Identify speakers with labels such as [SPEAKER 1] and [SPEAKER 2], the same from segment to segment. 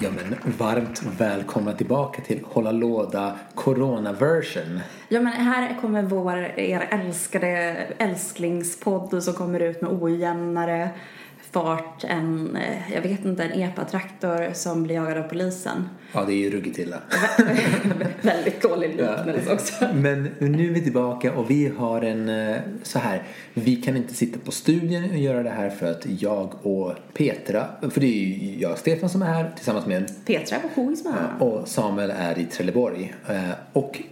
[SPEAKER 1] men varmt välkomna tillbaka till Hålla Låda Corona version.
[SPEAKER 2] Ja men här kommer vår, er älskade älsklingspodd som kommer ut med ojämnare fart än, eh, jag vet inte, en epatraktor som blir jagad av polisen.
[SPEAKER 1] Ja, det är ju ruggigt illa.
[SPEAKER 2] Väldigt dålig liknelse också.
[SPEAKER 1] Men nu är vi tillbaka och vi har en eh, så här. Vi kan inte sitta på studion och göra det här för att jag och Petra, för det är ju jag och Stefan som är här tillsammans med
[SPEAKER 2] Petra var hon som var
[SPEAKER 1] och Samuel är i Trelleborg. Eh, Och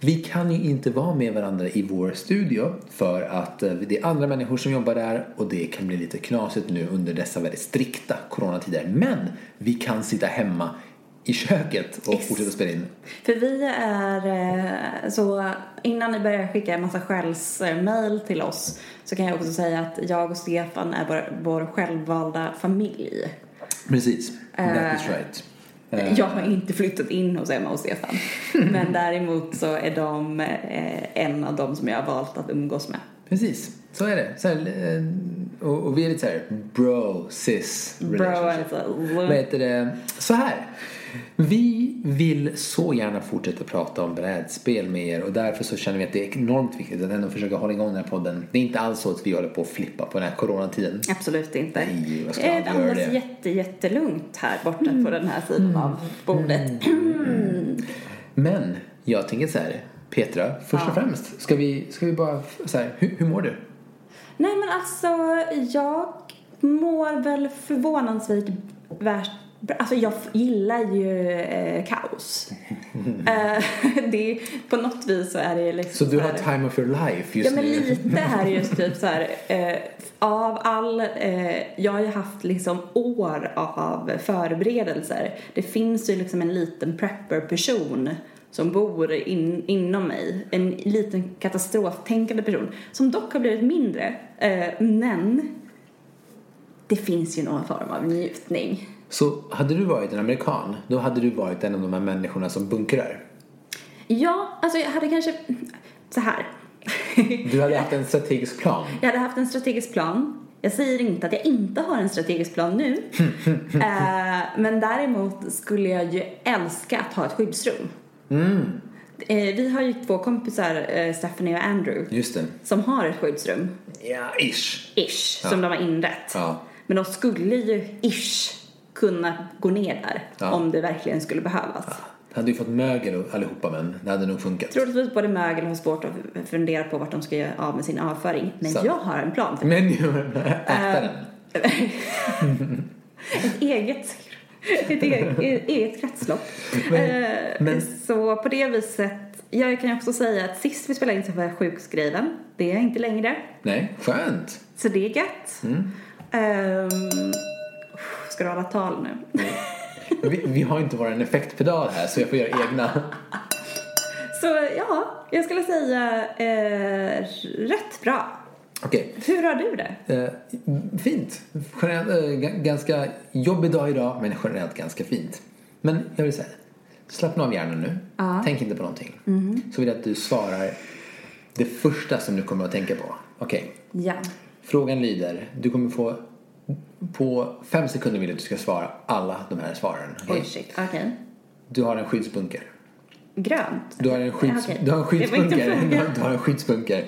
[SPEAKER 1] vi kan ju inte vara med varandra i vår studio för att eh, det är andra människor som jobbar där och det kan bli lite knasigt nu under dessa väldigt strikta coronatider. Men vi kan sitta hemma i köket och
[SPEAKER 2] Ex-
[SPEAKER 1] fortsätta spela in.
[SPEAKER 2] För vi är eh, så innan ni börjar skicka en massa skällsmail till oss så kan jag också säga att jag och Stefan är vår, vår självvalda familj.
[SPEAKER 1] Precis, that is right. Eh.
[SPEAKER 2] Jag har inte flyttat in hos Emma och Stefan. Men däremot så är de eh, en av dem som jag har valt att umgås med.
[SPEAKER 1] Precis, så är det. Så här, eh, och, och vi är lite så här bro, sis
[SPEAKER 2] Bro, alltså,
[SPEAKER 1] Vad heter det? Så här. Vi vill så gärna fortsätta prata om brädspel med er och därför så känner vi att det är enormt viktigt att ändå försöka hålla igång den här podden. Det är inte alls så att vi håller på att flippa på den här coronatiden.
[SPEAKER 2] absolut inte.
[SPEAKER 1] Nej, vad ska
[SPEAKER 2] Eh,
[SPEAKER 1] jag göra
[SPEAKER 2] andas
[SPEAKER 1] det? Mm.
[SPEAKER 2] jätte, jättelugnt här borta på den här sidan av bordet.
[SPEAKER 1] Men jag tänker så här, Petra, först och främst, ska vi, ska vi bara så här, hur, hur mår du?
[SPEAKER 2] Nej men alltså, jag mår väl förvånansvärt värst Alltså jag f- gillar ju eh, kaos. eh, det, är- på något vis så är det liksom
[SPEAKER 1] Så du har
[SPEAKER 2] här-
[SPEAKER 1] time of your life just
[SPEAKER 2] Ja men
[SPEAKER 1] nu?
[SPEAKER 2] lite här är just typ så här, eh, av all, eh, jag har ju haft liksom år av förberedelser. Det finns ju liksom en liten prepper-person som bor in, inom mig. En liten katastroftänkande person som dock har blivit mindre. Eh, men det finns ju någon form av njutning.
[SPEAKER 1] Så hade du varit en amerikan, då hade du varit en av de här människorna som bunkrar.
[SPEAKER 2] Ja, alltså jag hade kanske, så här.
[SPEAKER 1] Du hade haft en strategisk plan.
[SPEAKER 2] Jag hade haft en strategisk plan. Jag säger inte att jag inte har en strategisk plan nu. eh, men däremot skulle jag ju älska att ha ett skyddsrum.
[SPEAKER 1] Mm.
[SPEAKER 2] Eh, vi har ju två kompisar, eh, Stephanie och Andrew,
[SPEAKER 1] Just det.
[SPEAKER 2] som har ett skyddsrum,
[SPEAKER 1] Ja, ish.
[SPEAKER 2] ish, som de har inrett.
[SPEAKER 1] Ja.
[SPEAKER 2] Men de skulle ju, ish, kunna gå ner där
[SPEAKER 1] Ja.
[SPEAKER 2] om det verkligen skulle behövas.
[SPEAKER 1] Det hade ju fått mögel allihopa men det hade nog funkat.
[SPEAKER 2] Troligtvis både mögel har svårt att fundera på vart de ska göra av med sin avföring. Men
[SPEAKER 1] Sant.
[SPEAKER 2] jag har en plan för
[SPEAKER 1] Men äta den.
[SPEAKER 2] ett eget, ett eget, ett eget kretslopp. Eh,
[SPEAKER 1] men-
[SPEAKER 2] Så på det viset, jag kan ju också säga att sist vi spelade in så var jag sjukskriven. Det är jag inte längre.
[SPEAKER 1] Nej, skönt.
[SPEAKER 2] Så det är gött. Ehm, ska du hålla tal nu?
[SPEAKER 1] Vi, vi har inte vår effektpedal här så jag får göra egna.
[SPEAKER 2] Så ja, jag skulle säga eh, rätt bra.
[SPEAKER 1] Okej,
[SPEAKER 2] Hur har du det?
[SPEAKER 1] eh, fint. Generellt, eh, g- ganska jobbig dag idag men generellt ganska fint. Men jag vill säga, slappna av hjärnan nu. Tänk inte på någonting. Så vill jag att du svarar det första som du kommer att tänka på. Okej,
[SPEAKER 2] Ja.
[SPEAKER 1] frågan lyder, du kommer få på fem sekunder vill jag att du ska svara alla de här svaren. okej?
[SPEAKER 2] Oj, shit. Okej.
[SPEAKER 1] Du har en skyddsbunker.
[SPEAKER 2] Grönt.
[SPEAKER 1] Du har en, skydds,
[SPEAKER 2] Okej.
[SPEAKER 1] du har en
[SPEAKER 2] Det var
[SPEAKER 1] skyddsbunker.
[SPEAKER 2] inte
[SPEAKER 1] Du
[SPEAKER 2] frågan.
[SPEAKER 1] har, du har en skyddsbunker.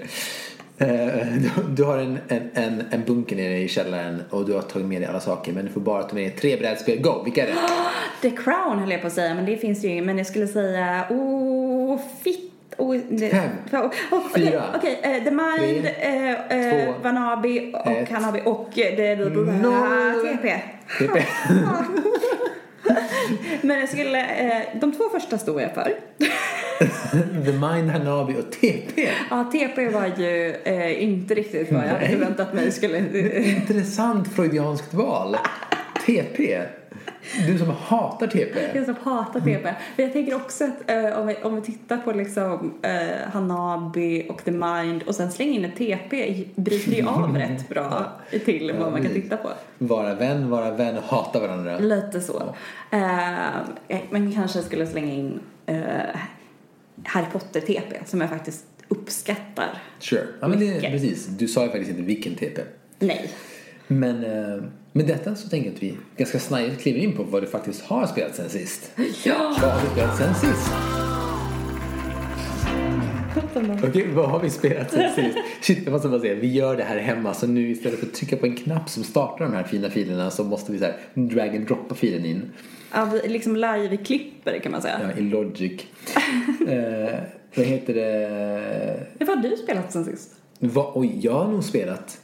[SPEAKER 1] Eh, Du, du har en, en, en, en bunker nere i källaren och du har tagit med dig alla saker men du får bara ta med dig tre brädspel. Go! Vilka är det?
[SPEAKER 2] The Crown höll jag på att säga, men det finns ju ingen. Men jag skulle säga, åh, oh, fitt. Oh,
[SPEAKER 1] Fem, fyra,
[SPEAKER 2] Okej, eh, The Mind,
[SPEAKER 1] tre,
[SPEAKER 2] eh, eh,
[SPEAKER 1] två,
[SPEAKER 2] Vanabi och
[SPEAKER 1] ett,
[SPEAKER 2] Hanabi och eh, det, det, det,
[SPEAKER 1] noll.
[SPEAKER 2] TP.
[SPEAKER 1] Det är-
[SPEAKER 2] Men jag skulle, eh, de två första stod jag för.
[SPEAKER 1] The Mind, Hanabi och TP.
[SPEAKER 2] Ja, TP var ju eh, inte riktigt vad jag hade förväntat mig skulle...
[SPEAKER 1] Intressant freudianskt val. TP. Du som hatar TP.
[SPEAKER 2] Jag som hatar PP. Men jag tänker också att eh, om, vi, om vi tittar på liksom eh, Hanabi och The Mind och sen slänger in ett TP bryter ju av rätt bra till vad man kan titta på.
[SPEAKER 1] Vara vän, vara vän och hata varandra.
[SPEAKER 2] Lite så. Eh, men kanske skulle slänga in eh, Harry Potter-TP som jag faktiskt uppskattar.
[SPEAKER 1] Sure. Ja, men det,
[SPEAKER 2] Mycket.
[SPEAKER 1] precis. Du sa ju faktiskt inte vilken TP.
[SPEAKER 2] Nej.
[SPEAKER 1] Men eh, med detta så tänker jag att vi ganska snabbt kliver in på vad du faktiskt har spelat sen sist.
[SPEAKER 2] Ja!
[SPEAKER 1] Vad har vi spelat sen sist? Okej, vad har vi spelat sen sist? Shit, jag måste bara säga, vi gör det här hemma så nu istället för att trycka på en knapp som startar de här fina filerna så måste vi så här drag and droppa filen in
[SPEAKER 2] Ja, vi liksom live-klipper kan man säga.
[SPEAKER 1] ja, i Logic. eh, vad heter det?
[SPEAKER 2] Vad har du spelat sen sist?
[SPEAKER 1] Va, oj, jag har nog spelat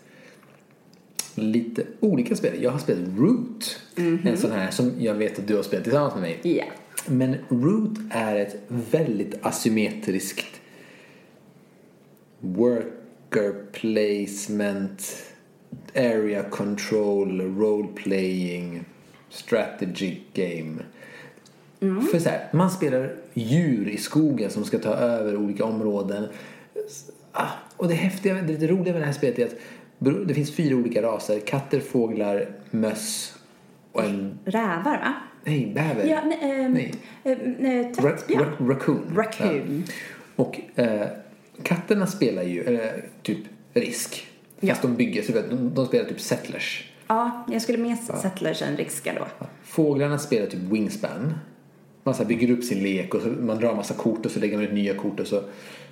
[SPEAKER 1] lite olika spel. Jag har spelat Root. En sån här som jag vet att du har spelat tillsammans med mig.
[SPEAKER 2] Ja.
[SPEAKER 1] Men Root är ett väldigt asymmetriskt worker placement, area control, role playing, strategy game. För så här, man spelar djur i skogen som ska ta över olika områden. S- Ah, och det häftiga, det lite roliga med det här spelet är att bero- det finns fyra olika raser. Katter, fåglar, möss och en...
[SPEAKER 2] Rävar, va?
[SPEAKER 1] Nej, bäver.
[SPEAKER 2] Ja, nej. ehm,
[SPEAKER 1] Nej.
[SPEAKER 2] ehm, nej,
[SPEAKER 1] Ra-
[SPEAKER 2] Tvättbjörn.
[SPEAKER 1] ra- raccoon.
[SPEAKER 2] Raccoon.
[SPEAKER 1] Ja. Och eh, katterna spelar ju eller, typ risk. Fast de bygger, så du vet, de, de spelar typ settlers.
[SPEAKER 2] Ja, jag skulle mer Settlers än Riska då.
[SPEAKER 1] Fåglarna spelar typ wingspan. Man så här bygger upp sin lek och så, man drar massa kort och så lägger man ut nya kort och så.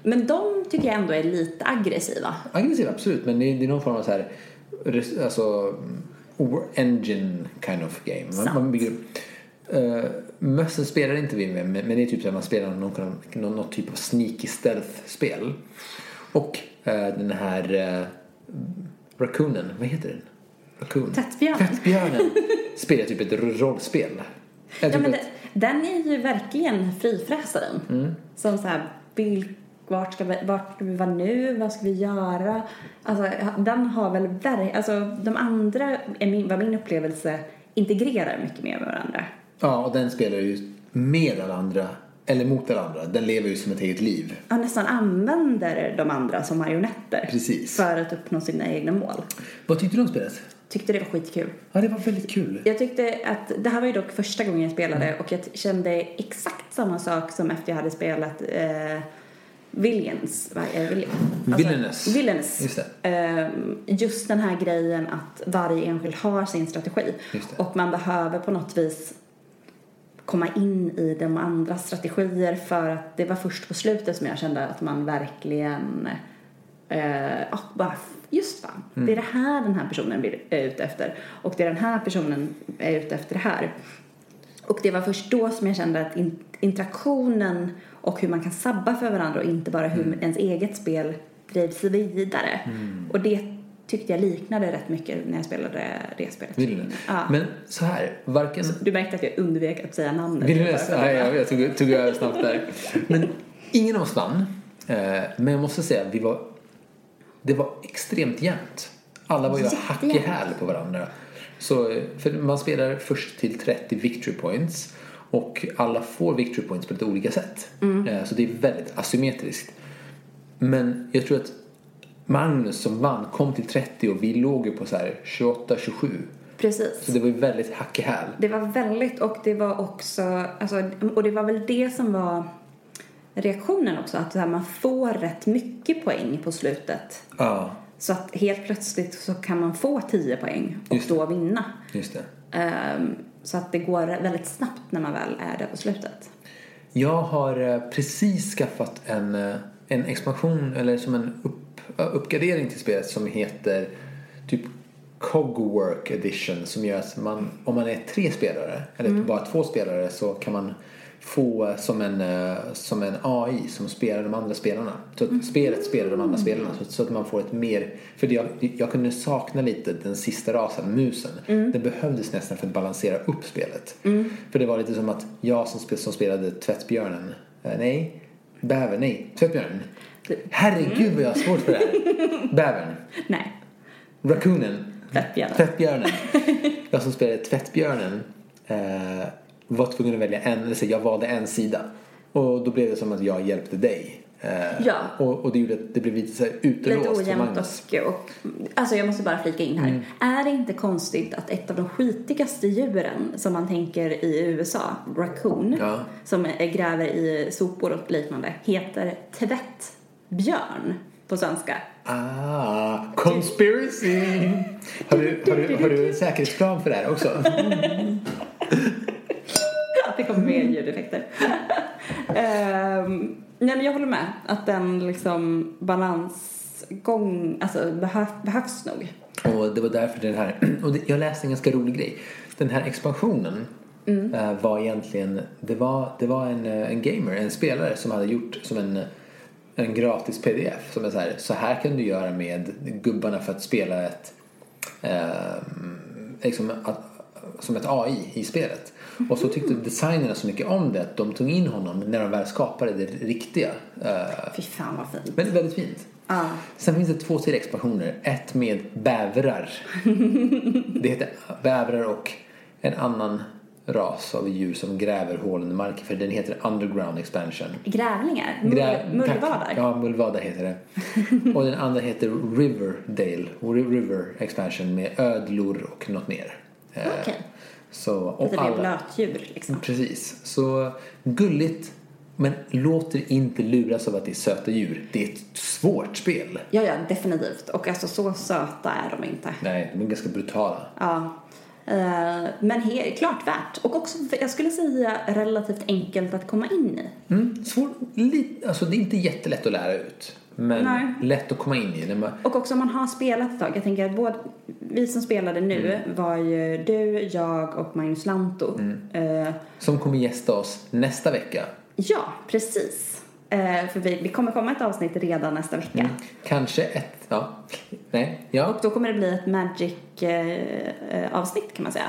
[SPEAKER 2] Men de tycker jag ändå är lite aggressiva.
[SPEAKER 1] Aggressiv absolut, men det, är- det är någon form av så här, res- alltså o- engine kind of game. Man,
[SPEAKER 2] Sant.
[SPEAKER 1] man bygger upp. Eh, mössen spelar inte vi med, men men det är typ så att man spelar någon, någon, någon, någon typ av sneaky stealth-spel. Och eh, den här uh, raccoonen, vad heter den? Raccoon.
[SPEAKER 2] Tvättbjörn.
[SPEAKER 1] Tvättbjörnen spelar typ ett r- rollspel. Eller
[SPEAKER 2] Ja,
[SPEAKER 1] typ
[SPEAKER 2] men
[SPEAKER 1] ett-
[SPEAKER 2] det, Mm. den är ju verkligen frifräsaren. Som så här, vil- vart ska, vi, vart ska vi vara nu? Vad ska vi göra? Alltså, den har väl verkligen... Alltså, de andra, är min, var min upplevelse, integrerar mycket mer med varandra.
[SPEAKER 1] Ja, och den spelar ju med alla andra, eller mot alla andra. Den lever ju som ett eget liv.
[SPEAKER 2] Han nästan använder de andra som marionetter.
[SPEAKER 1] Precis.
[SPEAKER 2] För att uppnå sina egna mål.
[SPEAKER 1] Vad tyckte du om spelet?
[SPEAKER 2] Tyckte det var skitkul.
[SPEAKER 1] Ja, det var väldigt kul.
[SPEAKER 2] Jag tyckte att, det här var ju dock första gången jag
[SPEAKER 1] Mm.
[SPEAKER 2] spelade och jag t- kände exakt samma sak som efter jag hade spelat eh, Villains. va? Eh, Vill-
[SPEAKER 1] Villainous.
[SPEAKER 2] Villainous.
[SPEAKER 1] Just
[SPEAKER 2] Ehm, just den här grejen att varje enskild har sin strategi.
[SPEAKER 1] Just det.
[SPEAKER 2] Och man behöver på något vis komma in i de andra strategier för att det var först på slutet som jag kände att man verkligen eh, ja, bara f- just fan, det är det här den här personen blir- är ute efter och det är den här personen är ute efter det här. Och det var först då som jag kände att in, interaktionen och hur man kan sabba för varandra och inte bara hur ens eget spel drivs vidare. Och det tyckte jag liknade rätt mycket när jag spelade det spelet.
[SPEAKER 1] Villeneuve.
[SPEAKER 2] Ja.
[SPEAKER 1] Men så här, varken...
[SPEAKER 2] Du märkte att jag undvek att säga namnet.
[SPEAKER 1] Villeneuve,
[SPEAKER 2] Bara för att-
[SPEAKER 1] nej, jag, jag tog, tog över snabbt där. Men ingen av oss vann. Eh, Men jag måste säga, vi var, det var extremt jämnt. Alla var ju hack i
[SPEAKER 2] Jättejämnt.
[SPEAKER 1] häl på varandra. Så, eh, för man spelar först till 30 victory points och alla får victory points på lite olika sätt.
[SPEAKER 2] Mm.
[SPEAKER 1] Eh, Så det är väldigt asymmetriskt. Men jag tror att Magnus som vann kom till 30 och vi låg ju på så här 28-27.
[SPEAKER 2] Precis.
[SPEAKER 1] Så det var ju väldigt hack i häl.
[SPEAKER 2] Det var väldigt, och det var också, alltså, och det var väl det som var reaktionen också, att så här, man får rätt mycket poäng på slutet.
[SPEAKER 1] Ja,
[SPEAKER 2] Så att helt plötsligt så kan man få 10 poäng och
[SPEAKER 1] Just det.
[SPEAKER 2] då vinna.
[SPEAKER 1] just det.
[SPEAKER 2] Ehm, så att det går väldigt snabbt när man väl är där på slutet.
[SPEAKER 1] Jag har eh, precis skaffat en, eh, en expansion, eller som en upp, ja, uppgradering till spelet som heter typ Cogwork Edition som gör att man, om man är tre spelare, eller bara två spelare, så kan man få eh, som en, eh, som en AI som spelar de andra spelarna. Så att spelet spelar de andra spelarna så, så att man får ett mer... För det jag, jag kunde sakna lite den sista rasen, musen. Den behövdes nästan för att balansera upp spelet. För det var lite som att jag som, spe- som spelade tvättbjörnen, eh, nej, bävern, nej, tvättbjörnen.
[SPEAKER 2] Typ.
[SPEAKER 1] Herregud vad jag har svårt för det här. Bävern,
[SPEAKER 2] Nej,
[SPEAKER 1] raccoonen,
[SPEAKER 2] tvättbjörnen.
[SPEAKER 1] Tvättbjörnen. jag som spelade Tvättbjörnen eh, var tvungen att välja en, eller så jag valde en sida. Och då blev det som att jag hjälpte dig. Eh,
[SPEAKER 2] Ja.
[SPEAKER 1] och, och det gjorde att det blev lite så här
[SPEAKER 2] Lite
[SPEAKER 1] utelåst för
[SPEAKER 2] ojämnt
[SPEAKER 1] Magnus. Mm.
[SPEAKER 2] och, och... Alltså jag måste bara flika in här. Är det inte konstigt att ett av de skitigaste djuren som man tänker i USA, raccoon,
[SPEAKER 1] Ja.
[SPEAKER 2] som är- gräver i sopor och liknande, heter tvättbjörn på på svenska.
[SPEAKER 1] Ah, conspiracy! Har du, har du, har du en säkerhetsplan för det här också?
[SPEAKER 2] Att det kommer mer
[SPEAKER 1] Mm.
[SPEAKER 2] ljudeffekter. Ehm, nej men jag håller med att den liksom balansgång, alltså behöv, behövs nog.
[SPEAKER 1] Och det var därför den här, och det, jag läste en ganska rolig grej. Den här expansionen eh, var egentligen, det var, det var en, eh, en gamer, en spelare som hade gjort som en, en gratis pdf som är så här, så här kan du göra med gubbarna för att spela ett, eh, liksom att, som ett AI i spelet. Och så tyckte designerna så mycket om det att de tog in honom när de väl skapade det riktiga. Eh,
[SPEAKER 2] Fy fan vad fint.
[SPEAKER 1] men väldigt fint.
[SPEAKER 2] Ja.
[SPEAKER 1] Sen finns det två till expansioner. Ett med bävrar. Det heter bävrar och en annan ras av djur som gräver hål under marken. För den heter Underground Expansion.
[SPEAKER 2] Grävlingar?
[SPEAKER 1] Grä-
[SPEAKER 2] Mull- Mullvadar?
[SPEAKER 1] Tack. Ja, mullvadar heter det. Och den andra heter Riverdale. Ri- River Expansion med ödlor och något mer. Eh,
[SPEAKER 2] Okej.
[SPEAKER 1] Så,
[SPEAKER 2] Att
[SPEAKER 1] och
[SPEAKER 2] Alltså, det är
[SPEAKER 1] alla, Mm.
[SPEAKER 2] blötdjur liksom.
[SPEAKER 1] Precis. Så gulligt. Men låt er inte luras av att det är söta djur. Det är ett svårt spel.
[SPEAKER 2] Ja, ja, definitivt. Och alltså så söta är de inte.
[SPEAKER 1] Nej, de är ganska brutala.
[SPEAKER 2] Ja. Eh, Men he- klart värt. Och också, jag skulle säga, relativt enkelt att komma in i.
[SPEAKER 1] Mm, svår, li, alltså det är inte jättelätt att lära ut. Men
[SPEAKER 2] Nej.
[SPEAKER 1] lätt att komma in i. När man,
[SPEAKER 2] Och också om man har spelat ett tag. Jag tänker att både, vi som spelade nu
[SPEAKER 1] Mm.
[SPEAKER 2] var ju du, jag och Magnus Lantto. Eh,
[SPEAKER 1] som kommer gästa oss nästa vecka.
[SPEAKER 2] ja, precis. Eh, för vi, vi kommer komma ett avsnitt redan nästa vecka.
[SPEAKER 1] Mm. Kanske ett... Ja. Nej. Ja.
[SPEAKER 2] Och då kommer det bli ett Magic-avsnitt kan man säga.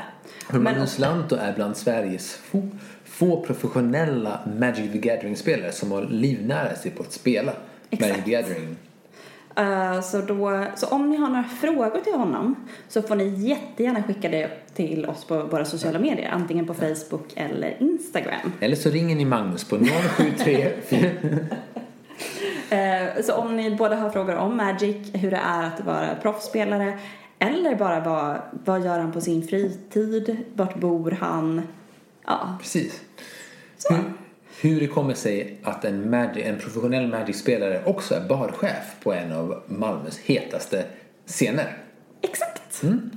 [SPEAKER 1] Hur Magnus Lantto är bland Sveriges få, få professionella Magic the Gathering-spelare som har livnärat sig på att spela
[SPEAKER 2] Exakt.
[SPEAKER 1] Magic the Gathering.
[SPEAKER 2] Eh, Så, då, så om ni har några frågor till honom så får ni jättegärna skicka det till oss på våra sociala medier. Antingen på Facebook eller Instagram.
[SPEAKER 1] Eller så ringer ni Magnus på 073...
[SPEAKER 2] Eh, Så om ni båda har frågor om Magic, hur det är att vara proffsspelare eller bara vad, vad gör han på sin fritid, vart bor han? Ja,
[SPEAKER 1] Precis.
[SPEAKER 2] Så.
[SPEAKER 1] Hur, hur det kommer sig att en, Magic, en professionell Magic-spelare också är barchef på en av Malmös hetaste scener.
[SPEAKER 2] exakt.
[SPEAKER 1] Mm.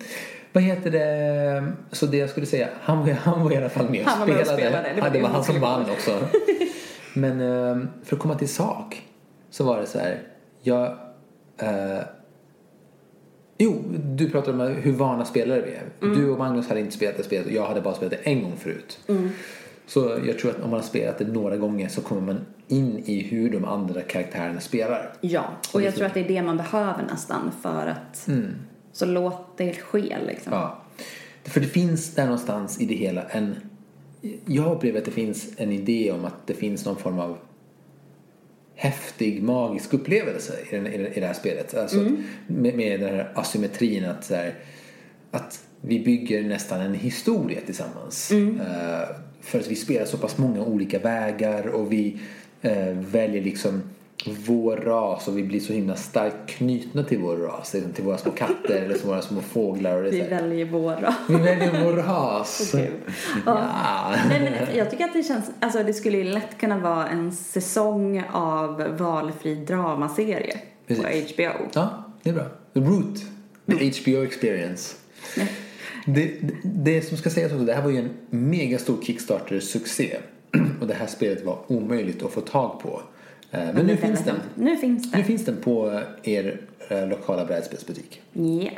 [SPEAKER 1] Vad heter det? Så det jag skulle säga, han var, han var i alla fall med och
[SPEAKER 2] Han var med och spelade, det
[SPEAKER 1] Ja,
[SPEAKER 2] var
[SPEAKER 1] det
[SPEAKER 2] det
[SPEAKER 1] var
[SPEAKER 2] vi
[SPEAKER 1] han som
[SPEAKER 2] skulle
[SPEAKER 1] vann också. Men eh, för att komma till sak så var det så här. Jag... eh, jo, du pratade om hur vana spelare vi är.
[SPEAKER 2] Mm.
[SPEAKER 1] Du och Magnus hade inte spelat det spelet och jag hade bara spelat det en gång förut.
[SPEAKER 2] Mm.
[SPEAKER 1] Så jag tror att om man har spelat det några gånger så kommer man in i hur de andra karaktärerna spelar.
[SPEAKER 2] Ja, och jag tror att det är Mm. det man behöver nästan för att så låt det ske liksom.
[SPEAKER 1] Ja. För det finns där någonstans i det hela en... Jag upplever att det finns en idé om att det finns någon form av häftig magisk upplevelse i, den, i, den, i det här spelet. Alltså att, med, med den här asymmetrin att, så här, att vi bygger nästan en historia tillsammans. Eh, för att vi spelar så pass många olika vägar och vi eh, väljer liksom vår ras och vi blir så himla starkt knutna till vår ras. Liksom till våra små katter eller till våra små fåglar. Och det är så
[SPEAKER 2] Vi
[SPEAKER 1] här,
[SPEAKER 2] väljer våra.
[SPEAKER 1] vi väljer vår ras.
[SPEAKER 2] Okej.
[SPEAKER 1] Ja.
[SPEAKER 2] Nej, men jag tycker att det känns, alltså det skulle ju lätt kunna vara en säsong av valfri dramaserie
[SPEAKER 1] Precis.
[SPEAKER 2] på HBO.
[SPEAKER 1] ja, det är bra. The Root. The HBO Experience. Det, det, det som ska sägas också, det här var ju en megastor Kickstarter-succé. Och det här spelet var omöjligt att få tag på. Eh, Men nu finns den.
[SPEAKER 2] Nu finns
[SPEAKER 1] Nu
[SPEAKER 2] den.
[SPEAKER 1] finns den på er eh, lokala brädspelsbutik.
[SPEAKER 2] Yes.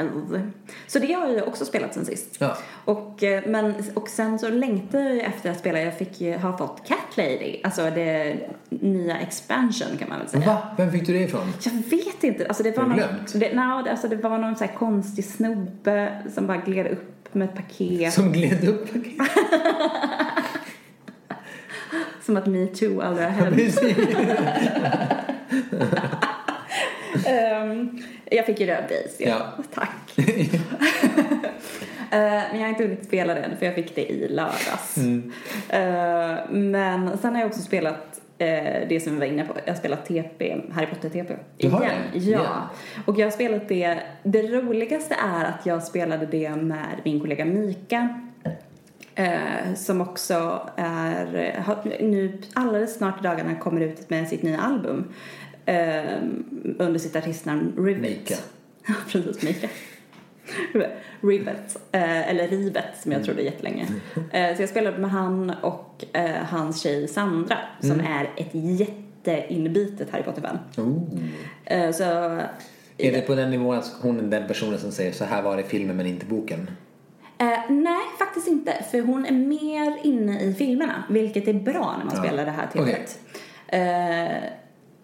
[SPEAKER 2] Så det har jag ju också spelat sen sist.
[SPEAKER 1] Ja.
[SPEAKER 2] Och, eh, men, och sen så längtade jag ju efter att spela. Jag fick ju, har fått Cat Lady, alltså det nya expansion kan man väl säga.
[SPEAKER 1] Va? Vem fick du det ifrån?
[SPEAKER 2] Jag vet inte. Alltså det var
[SPEAKER 1] Har du
[SPEAKER 2] någon,
[SPEAKER 1] glömt?
[SPEAKER 2] det, no, alltså det var någon så här konstig snubbe som bara gled upp med ett paket.
[SPEAKER 1] Som gled upp
[SPEAKER 2] Som att metoo aldrig har hänt.
[SPEAKER 1] Precis.
[SPEAKER 2] Ehm, jag fick ju röd base.
[SPEAKER 1] Ja.
[SPEAKER 2] Tack. Eh, men jag har inte hunnit spela den för jag fick det i lördags.
[SPEAKER 1] Mm.
[SPEAKER 2] Eh, men sen har jag också spelat eh, det som vi var inne på. Jag har spelat TP, Harry Potter-TP.
[SPEAKER 1] Du har det?
[SPEAKER 2] Ja.
[SPEAKER 1] Ja.
[SPEAKER 2] Och jag har spelat det. Det roligaste är att jag spelade det med min kollega Mika. Eh, som också är, har, nu alldeles snart i dagarna kommer ut med sitt nya album. Eh, eh, under sitt artistnamn Rivet.
[SPEAKER 1] Mika.
[SPEAKER 2] Ja, precis. Mika. Rivet, eh, eller Rivet som jag trodde jättelänge. Eh, så jag spelade med han och eh, hans tjej Sandra som är ett jätteinbitet Harry Potter-fan.
[SPEAKER 1] Oh.
[SPEAKER 2] Eh, så
[SPEAKER 1] Är det på den nivån att hon är den personen som säger så här var det i filmen men inte boken?
[SPEAKER 2] Eh, nej, faktiskt inte. För hon är mer inne i filmerna, vilket är bra när man
[SPEAKER 1] Ja.
[SPEAKER 2] spelar det här tillfället. Eh,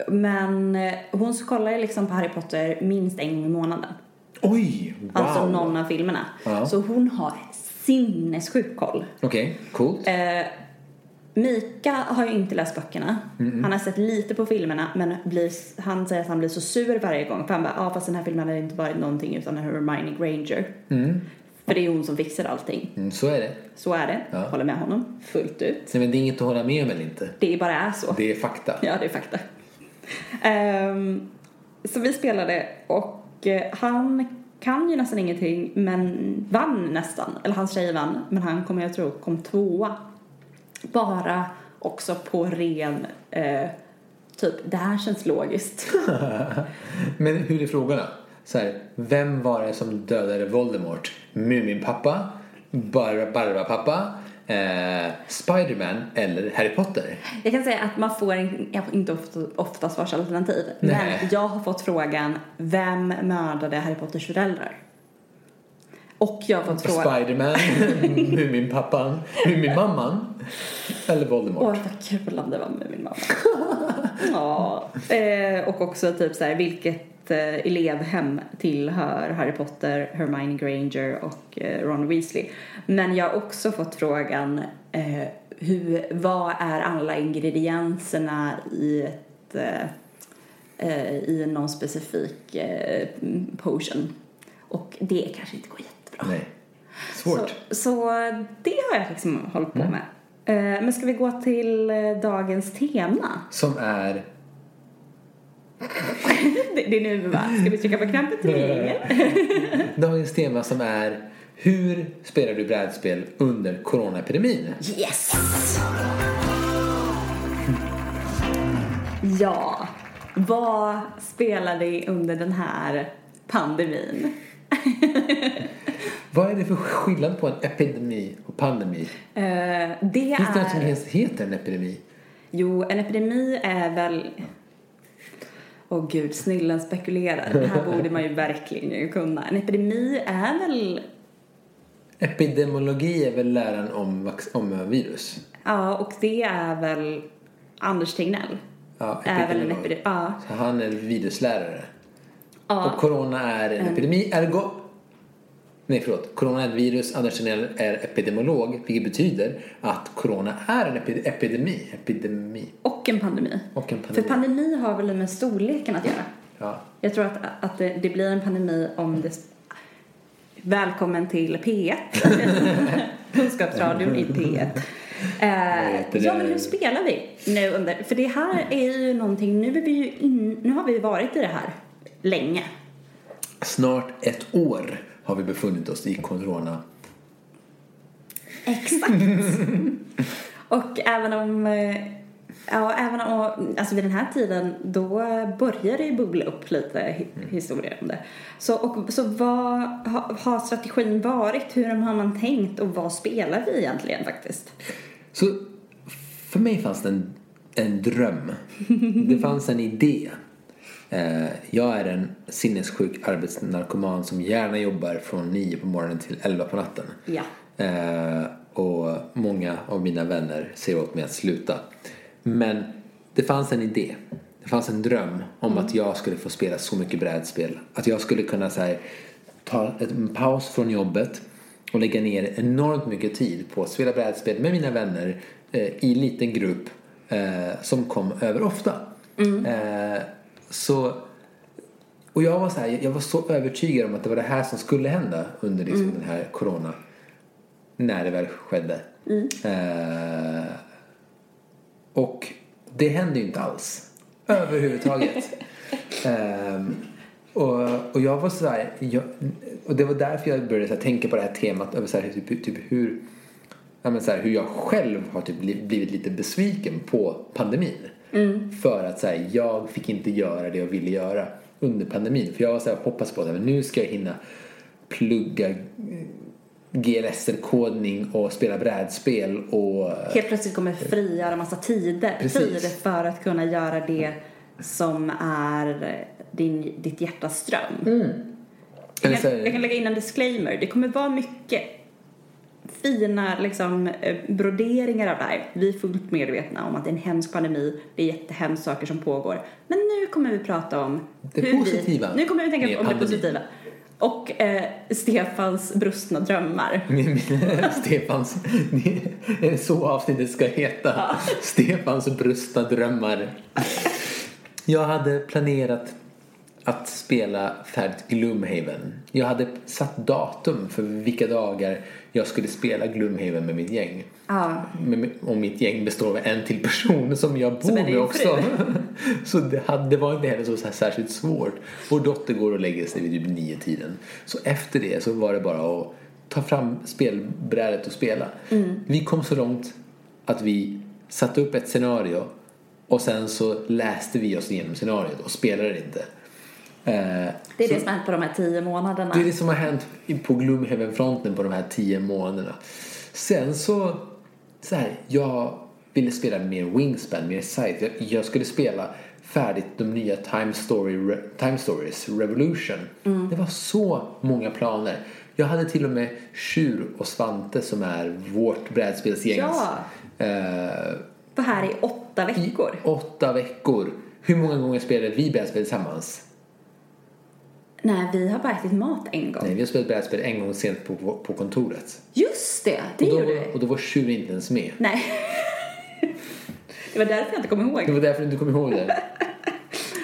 [SPEAKER 2] men eh, hon så kollar ju liksom på Harry Potter minst en gång i månaden.
[SPEAKER 1] Oj! Wow!
[SPEAKER 2] Alltså någon av filmerna.
[SPEAKER 1] Ja.
[SPEAKER 2] Så hon har sinnessjuk koll.
[SPEAKER 1] Okej, coolt.
[SPEAKER 2] Eh. Mika har ju inte läst böckerna. Han har sett lite på filmerna men blir, han säger att han blir så sur varje gång. För han bara, ja ah, fast den här filmen hade inte varit någonting utan Hermione Granger. För det är hon som fixar allting.
[SPEAKER 1] Mm, så är det.
[SPEAKER 2] Så är det.
[SPEAKER 1] Ja.
[SPEAKER 2] Håller med honom fullt ut.
[SPEAKER 1] Nej, men det är inget att hålla med om eller inte.
[SPEAKER 2] Det bara är så.
[SPEAKER 1] Det är fakta.
[SPEAKER 2] Ja, det är fakta. Ehm, så vi spelade och eh, han kan ju nästan ingenting men vann nästan. Eller hans tjej vann men han kommer jag tror kom tvåa. Bara också på ren eh, typ det här känns logiskt.
[SPEAKER 1] Men hur är frågorna? Så här, vem var det som dödade Voldemort? Muminpappa? Bar- Barbapappa? Eh, Spiderman? Eller Harry Potter?
[SPEAKER 2] Jag kan säga att man får en- jag får inte ofta, ofta svarsalternativ.
[SPEAKER 1] Nej.
[SPEAKER 2] Men jag har fått frågan, vem mördade Harry Potters föräldrar? Och jag har fått frågan,
[SPEAKER 1] Spiderman? Muminpappan? Muminmamman? Eller Voldemort?
[SPEAKER 2] åh vad kul om det var med min mamma. ja. eh, och också typ så här, vilket eh, elevhem tillhör Harry Potter, Hermione Granger och eh, Ron Weasley. Men jag har också fått frågan, eh, hur, vad är alla ingredienserna i ett eh, eh, i någon specifik eh, potion. Och det kanske inte går jättebra.
[SPEAKER 1] Nej. Svårt. Mm.
[SPEAKER 2] Så, så det har jag liksom hållit på med. Eh, Men ska vi gå till eh, dagens tema?
[SPEAKER 1] Som är...
[SPEAKER 2] Det det är nu va? Ska vi trycka på knappen till ringen?
[SPEAKER 1] Dagens tema som är Hur spelar du brädspel under coronaepidemin?
[SPEAKER 2] Yes! Ja, vad spelar vi under den här pandemin?
[SPEAKER 1] Vad är det för skillnad på en epidemi och pandemi?
[SPEAKER 2] Eh, Det
[SPEAKER 1] Finns det något
[SPEAKER 2] är...
[SPEAKER 1] som ens heter en epidemi?
[SPEAKER 2] Jo, en epidemi är väl... Åh gud, snillen spekulerar. Det här borde man ju verkligen ju kunna. En epidemi är väl...
[SPEAKER 1] Epidemiologi är väl läran om, vax- om virus?
[SPEAKER 2] Ja, och det är väl Anders Tegnell.
[SPEAKER 1] Ja,
[SPEAKER 2] Är väl en
[SPEAKER 1] epidemiolog.
[SPEAKER 2] epidemi. Ja.
[SPEAKER 1] Så han är viruslärare.
[SPEAKER 2] Ja. Mm.
[SPEAKER 1] Och corona är en epidemi, ergo... Nej, förlåt. Corona är ett virus, Anders Tegnell är epidemiolog, vilket betyder att corona är en epi- epidemi. Epidemi.
[SPEAKER 2] Och en pandemi.
[SPEAKER 1] Och en
[SPEAKER 2] För
[SPEAKER 1] pandemi.
[SPEAKER 2] pandemi har väl med storleken att göra.
[SPEAKER 1] ja.
[SPEAKER 2] Jag tror att, att det, det blir en pandemi om det... Välkommen till P1. Kunskapsradion i P1. Eh,
[SPEAKER 1] heter
[SPEAKER 2] ja,
[SPEAKER 1] det?
[SPEAKER 2] men hur spelar vi nu under... För det här är ju någonting... Nu, är vi ju in, nu har vi varit i det här länge.
[SPEAKER 1] Snart ett år har vi befunnit oss i corona.
[SPEAKER 2] Exakt. Och även om... eh, Ja, även om, alltså vid den här tiden då börjar det ju bubbla upp lite hi- historier om det. Så, och, så vad ha, har strategin varit? Hur har man tänkt och vad spelar vi egentligen faktiskt?
[SPEAKER 1] Så för mig fanns det en, en dröm. Det fanns en idé. Eh, jag är en sinnessjuk arbetsnarkoman som gärna jobbar från 9 på morgonen till 11 på natten.
[SPEAKER 2] Ja.
[SPEAKER 1] Eh, och många av mina vänner säger åt mig att sluta. Men det fanns en idé. Det fanns en dröm om att jag skulle få spela så mycket brädspel. Att jag skulle kunna så här, ta ett- en paus från jobbet och lägga ner enormt mycket tid på att spela brädspel med mina vänner eh, i en liten grupp eh, som kom över ofta. Eh, så och jag var, så här, jag var så övertygad om att det var det här som skulle hända under liksom den här corona. När det väl skedde. Eh, och det hände ju inte alls. Överhuvudtaget. Ehm, och, och jag var så här, jag, och det var därför jag började så här, tänka på det här temat. Över så här, typ, typ hur, ja, men så här, hur jag själv har typ bli- blivit lite besviken på pandemin.
[SPEAKER 2] Mm.
[SPEAKER 1] För att så här, jag fick inte göra det jag ville göra under pandemin. För jag var så här, hoppas på att men nu ska jag hinna plugga eh, GLSR-kodning och spela brädspel och eh,
[SPEAKER 2] Helt plötsligt kommer frigöra massa tider,
[SPEAKER 1] Precis.
[SPEAKER 2] tid för att kunna göra det som är din, ditt hjärtas dröm.
[SPEAKER 1] eller
[SPEAKER 2] Jag,
[SPEAKER 1] så
[SPEAKER 2] kan- jag
[SPEAKER 1] här,
[SPEAKER 2] kan lägga in en disclaimer. Det kommer vara mycket fina liksom, eh, broderingar av det här. Vi är fullt medvetna om att det är en hemsk pandemi. Det är jättehemskt saker som pågår. Men nu kommer vi prata om
[SPEAKER 1] Det positiva
[SPEAKER 2] Vi, nu kommer vi tänka
[SPEAKER 1] med
[SPEAKER 2] om det
[SPEAKER 1] pandemin.
[SPEAKER 2] positiva. Och eh, Stefans brustna drömmar.
[SPEAKER 1] Stefans, det är så avsnittet ska heta. Stefans brustna drömmar. Jag hade planerat att spela färdigt Gloomhaven. Jag hade satt datum för vilka dagar jag skulle spela Gloomhaven med mitt gäng.
[SPEAKER 2] Ja.
[SPEAKER 1] Men- Och mitt gäng består av en till person som jag bor
[SPEAKER 2] är din
[SPEAKER 1] med också.
[SPEAKER 2] fru.
[SPEAKER 1] Så det, hade, det var inte heller så, så här särskilt svårt. Vår dotter går och lägger sig vid typ nio tiden. Så efter det så var det bara att ta fram spelbrädet och spela.
[SPEAKER 2] Mm.
[SPEAKER 1] Vi kom så långt att vi satte upp ett scenario och sen så läste vi oss igenom scenariot och spelade det inte. Eh,
[SPEAKER 2] Det är det som har hänt på de här tio månaderna.
[SPEAKER 1] det är det som har hänt i- på Gloomhaven-fronten på de här tio månaderna. Sen så, så här, jag ville spela mer Wingspan, mer Sight. Jag, jag skulle spela färdigt de nya Time, Story, Re, Time Stories Revolution.
[SPEAKER 2] Mm.
[SPEAKER 1] Det var så många planer. Jag hade till och med Tjur och Svante som är vårt brädspelsgängs
[SPEAKER 2] Ja.
[SPEAKER 1] eh,
[SPEAKER 2] Var här i åtta veckor.
[SPEAKER 1] åtta veckor. Hur många gånger spelade vi brädspel tillsammans?
[SPEAKER 2] Nej, vi har bara ätit mat en gång.
[SPEAKER 1] Nej, vi har spelat brädspel en gång sent på, på, på kontoret.
[SPEAKER 2] Just det, det
[SPEAKER 1] och,
[SPEAKER 2] gjorde
[SPEAKER 1] då,
[SPEAKER 2] vi.
[SPEAKER 1] och då var tjur inte ens med.
[SPEAKER 2] Nej. det var därför jag inte kom ihåg.
[SPEAKER 1] Det var därför du inte kom ihåg det.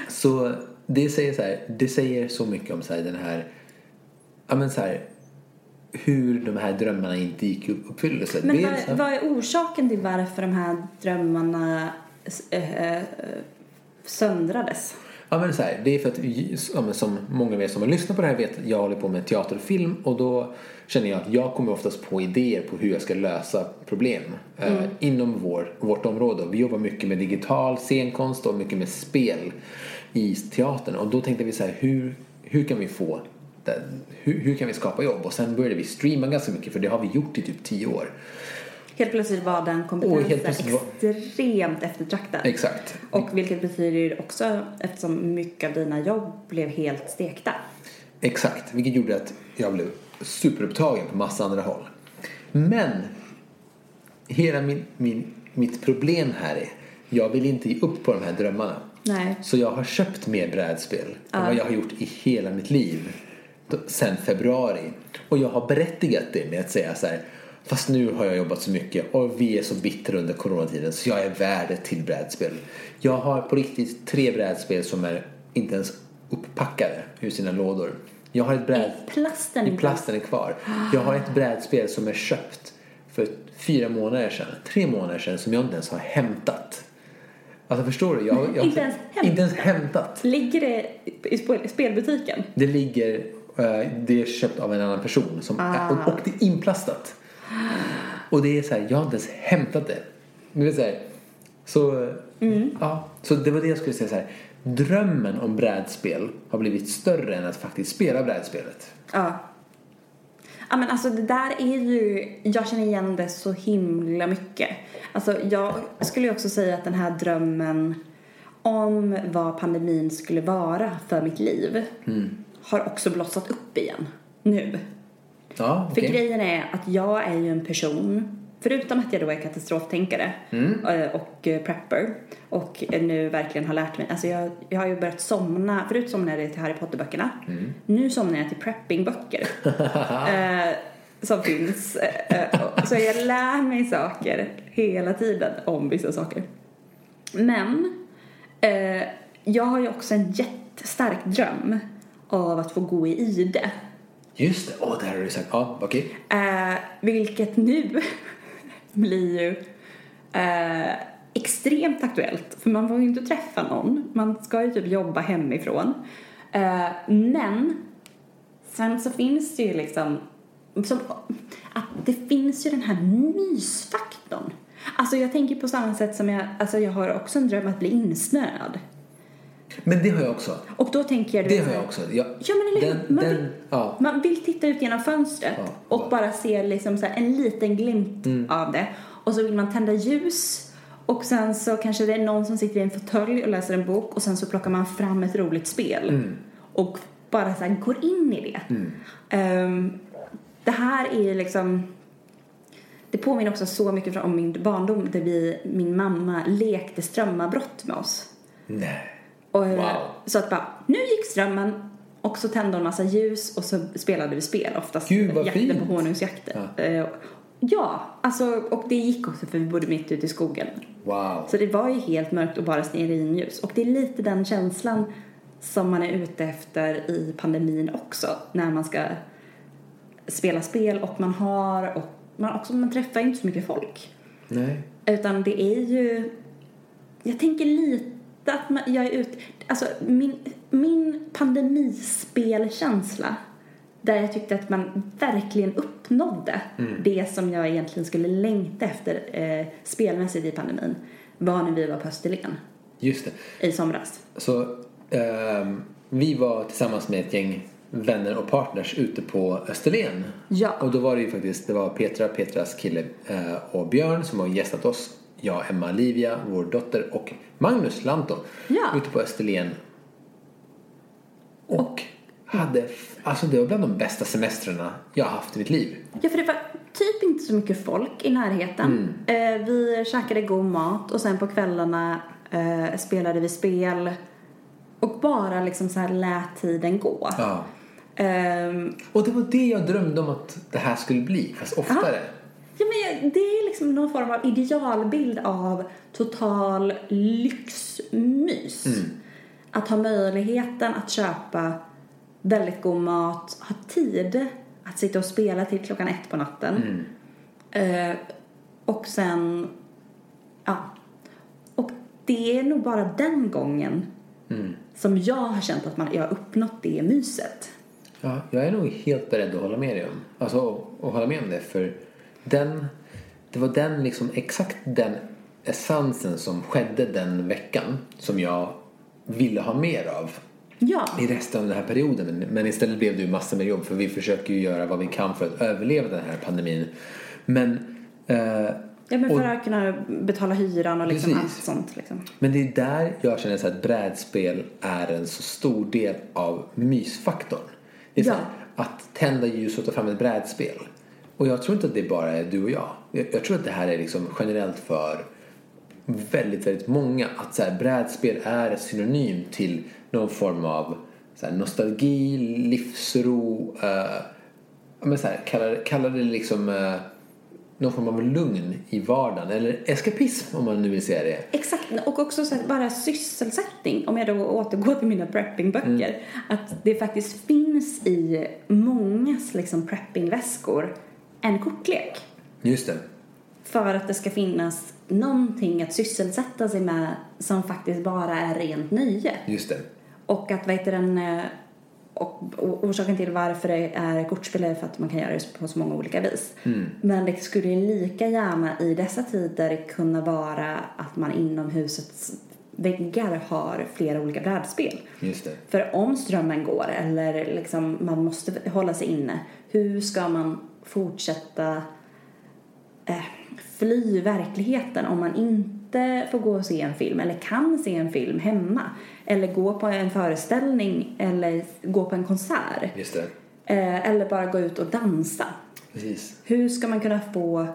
[SPEAKER 1] Så det säger så här, det säger så mycket om så här, den här, ja men så här, hur de här drömmarna inte gick i uppfyllelse.
[SPEAKER 2] Men
[SPEAKER 1] det är så
[SPEAKER 2] vad,
[SPEAKER 1] här,
[SPEAKER 2] vad är orsaken till varför de här drömmarna eh, eh, söndrades?
[SPEAKER 1] Ja, men så här, det är för att, ja, men som många av er som har lyssnat på det här vet, jag håller på med teater och film och då känner jag att jag kommer oftast på idéer på hur jag ska lösa problem eh, inom vår, vårt område. Vi jobbar mycket med digital scenkonst och mycket med spel i teatern och då tänkte vi så här, hur, hur kan vi få det, hur, hur kan vi skapa jobb? Och sen började vi streama ganska mycket för det har vi gjort i typ tio år.
[SPEAKER 2] Helt plötsligt var den
[SPEAKER 1] Och helt plötsligt
[SPEAKER 2] kompetensen
[SPEAKER 1] var-
[SPEAKER 2] extremt eftertraktad.
[SPEAKER 1] Exakt.
[SPEAKER 2] Och vilket betyder ju också, eftersom mycket av dina jobb blev helt stekta.
[SPEAKER 1] Exakt, vilket gjorde att jag blev superupptagen på massa andra håll. Men hela min, min, mitt problem här är jag vill inte ge upp på de här drömmarna.
[SPEAKER 2] Nej.
[SPEAKER 1] Så jag har köpt mer brädspel än vad jag har gjort i hela mitt liv då- sen februari. Och jag har berättigat det med att säga så här Fast nu har jag jobbat så mycket och vi är så bittra under coronatiden så jag är värd ett till brädspel. Jag har på riktigt tre brädspel som är inte ens upppackade ur sina lådor. Jag har ett bräd...
[SPEAKER 2] Plasten
[SPEAKER 1] I plasten är kvar. Jag har ett brädspel som är köpt för fyra månader sedan, tre månader sedan som jag inte ens har hämtat. Alltså förstår du? Jag, jag,
[SPEAKER 2] Inte ens hämtat.
[SPEAKER 1] Inte ens hämtat.
[SPEAKER 2] Ligger det i spel- spelbutiken?
[SPEAKER 1] Det ligger, eh, det är köpt av en annan person som
[SPEAKER 2] Ah.
[SPEAKER 1] är, och, och det är inplastat. Och det är så här, jag har inte ens hämtat det. Du vet så här, så,
[SPEAKER 2] Mm.
[SPEAKER 1] ja, så det var det jag skulle säga så här. Drömmen om brädspel har blivit större än att faktiskt spela brädspelet.
[SPEAKER 2] Ja. Ja men alltså det där är ju, jag känner igen det så himla mycket. Alltså jag skulle ju också säga att den här drömmen om vad pandemin skulle vara för mitt liv har också blossat upp igen nu.
[SPEAKER 1] Ja,
[SPEAKER 2] För
[SPEAKER 1] okej.
[SPEAKER 2] grejen är att jag är ju en person, förutom att jag då är katastroftänkare eh, och eh, prepper och eh, nu verkligen har lärt mig, alltså jag, jag har ju börjat somna, förut somnade jag till Harry Potter-böckerna, nu somnar jag till prepping-böcker eh, som finns. Eh, eh, och- så jag lär mig saker hela tiden om vissa saker. Men eh, jag har ju också en jättestark dröm av att få gå i ide.
[SPEAKER 1] Just det, åh, det här har du sagt. Ja, okej.
[SPEAKER 2] Eh, vilket nu blir ju eh, extremt aktuellt. För man får ju inte träffa någon. Man ska ju typ jobba hemifrån. Eh, men sen så finns det ju liksom... Som, att det finns ju den här mysfaktorn. Alltså jag tänker på samma sätt som jag, alltså jag har också en dröm att bli insnöad.
[SPEAKER 1] Men det har jag också.
[SPEAKER 2] Och då tänker jag... du
[SPEAKER 1] Det
[SPEAKER 2] vet,
[SPEAKER 1] har jag också. Jag,
[SPEAKER 2] Ja men eller hur?
[SPEAKER 1] den,
[SPEAKER 2] Man,
[SPEAKER 1] den,
[SPEAKER 2] vill,
[SPEAKER 1] ja.
[SPEAKER 2] man vill titta ut genom fönstret
[SPEAKER 1] Ja, Mm.
[SPEAKER 2] och
[SPEAKER 1] ja.
[SPEAKER 2] bara se liksom så här en liten glimt av det. Och så vill man tända ljus och sen så kanske det är någon som sitter i en fåtölj och läser en bok och sen så plockar man fram ett roligt spel.
[SPEAKER 1] Mm.
[SPEAKER 2] Och bara så här går in i det. Ehm, det här är ju liksom det påminner också så mycket om min barndom där vi, min mamma lekte strömavbrott med oss.
[SPEAKER 1] Nej.
[SPEAKER 2] Och,
[SPEAKER 1] Wow.
[SPEAKER 2] Så att bara, nu gick strömmen och så tände hon massa ljus och så spelade vi spel, oftast
[SPEAKER 1] Gud, vad
[SPEAKER 2] jakten
[SPEAKER 1] fint.
[SPEAKER 2] på honungsjakten. Ja. ja, alltså och det gick också för vi bodde mitt ute i skogen.
[SPEAKER 1] Wow.
[SPEAKER 2] Så det var ju helt mörkt och bara stearinljus. Och det är lite den känslan som man är ute efter i pandemin också. När man ska spela spel och man har och man, också, man träffar ju inte så mycket folk.
[SPEAKER 1] Nej.
[SPEAKER 2] Utan det är ju... Jag tänker lite att man, jag är ute... Alltså, min, min pandemispelkänsla där jag tyckte att man verkligen uppnådde det som jag egentligen skulle längta efter eh, spelmässigt i pandemin var när vi var på Österlen
[SPEAKER 1] Just det.
[SPEAKER 2] i somras.
[SPEAKER 1] Så ehm, vi var tillsammans med ett gäng vänner och partners ute på Österlen.
[SPEAKER 2] Ja.
[SPEAKER 1] Och då var det ju faktiskt, det var Petra, Petras kille eh, och Björn som har gästat oss. Jag, Emma, Livia, vår dotter och Magnus Lanto.
[SPEAKER 2] Ja.
[SPEAKER 1] Ute på Österlen. Och, hade, alltså det var bland de bästa semestrarna jag har haft i mitt liv.
[SPEAKER 2] Ja, för det var typ inte så mycket folk i närheten. Eh, vi käkade god mat och sen på kvällarna eh, spelade vi spel och bara liksom så här lät tiden gå.
[SPEAKER 1] Ja.
[SPEAKER 2] Ehm,
[SPEAKER 1] Och det var det jag drömde om att det här skulle bli, fast oftare.
[SPEAKER 2] ja, men jag- det är liksom någon form av idealbild av total lyxmys.
[SPEAKER 1] Mm.
[SPEAKER 2] Att ha möjligheten att köpa väldigt god mat, ha tid att sitta och spela till klockan ett på natten.
[SPEAKER 1] Mm.
[SPEAKER 2] Eh, och sen, ja. Och det är nog bara den gången
[SPEAKER 1] Mm.
[SPEAKER 2] som jag har känt att man, jag har uppnått det myset.
[SPEAKER 1] Ja, jag är nog helt beredd att hålla med dig om. Alltså, och, och hålla med om det. För den, det var den liksom, exakt den essensen som skedde den veckan som jag ville ha mer av
[SPEAKER 2] Ja.
[SPEAKER 1] i resten av den här perioden. Men, men istället blev det ju massor med jobb för vi försöker ju göra vad vi kan för att överleva den här pandemin. Men, eh,
[SPEAKER 2] Ja, men
[SPEAKER 1] Och-
[SPEAKER 2] för att kunna betala hyran och liksom
[SPEAKER 1] Precis.
[SPEAKER 2] allt sånt. Liksom.
[SPEAKER 1] men det är där jag känner så här att brädspel är en så stor del av mysfaktorn. Det är så
[SPEAKER 2] Ja.
[SPEAKER 1] här, att tända ljus och ta fram ett brädspel. Och jag tror inte att det bara är du och jag. Jag, jag tror att det här är liksom generellt för väldigt, väldigt många att så här, brädspel är synonym till någon form av så här, nostalgi, livsro, eh, ja, men så här, kallar, kallar det liksom eh, någon form av lugn i vardagen eller eskapism om man nu vill säga det.
[SPEAKER 2] Exakt, och också så här, bara sysselsättning, om jag då återgår till mina preppingböcker, att det faktiskt finns i mångas liksom, preppingväskor en kortlek.
[SPEAKER 1] Just det.
[SPEAKER 2] För att det ska finnas någonting att sysselsätta sig med som faktiskt bara är rent nöje.
[SPEAKER 1] Just det.
[SPEAKER 2] Och att vad heter den, eh, och, och orsaken till varför det är kortspel är för att man kan göra det på så många olika vis. Men det skulle ju lika gärna i dessa tider kunna vara att man inom husets väggar har flera olika brädspel.
[SPEAKER 1] Just det.
[SPEAKER 2] För om strömmen går eller liksom man måste hålla sig inne, hur ska man fortsätta eh, fly verkligheten om man inte får gå och se en film eller kan se en film hemma eller gå på en föreställning eller gå på en konsert
[SPEAKER 1] Just det.
[SPEAKER 2] eh, eller bara gå ut och dansa?
[SPEAKER 1] Precis.
[SPEAKER 2] Hur ska man kunna få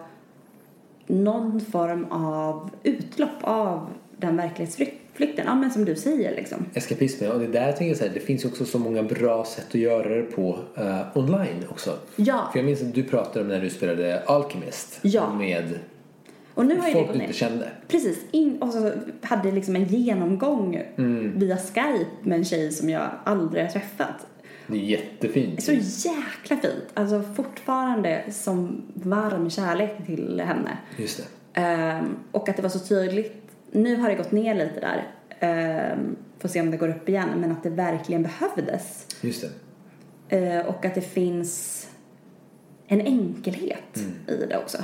[SPEAKER 2] någon form av utlopp av den verklighetsflykten? Ja, men som du säger liksom.
[SPEAKER 1] Eskapismen, och det där tänker jag så här, det finns ju också så många bra sätt att göra det på eh, online också.
[SPEAKER 2] Ja.
[SPEAKER 1] För jag minns att du pratade om när du spelade Alchemist
[SPEAKER 2] Ja.
[SPEAKER 1] med
[SPEAKER 2] Och nu har ju det
[SPEAKER 1] folk
[SPEAKER 2] gått
[SPEAKER 1] du
[SPEAKER 2] ner.
[SPEAKER 1] inte kände.
[SPEAKER 2] Precis, in, och så hade liksom en genomgång via Skype med en tjej som jag aldrig har träffat.
[SPEAKER 1] Det är jättefint.
[SPEAKER 2] Så jäkla fint! Alltså fortfarande som varm kärlek till henne.
[SPEAKER 1] Just det.
[SPEAKER 2] Ehm, och att det var så tydligt, nu har det gått ner lite där, um, får se om det går upp igen, men att det verkligen behövdes.
[SPEAKER 1] Just det.
[SPEAKER 2] Eh, och att det finns en enkelhet i det också.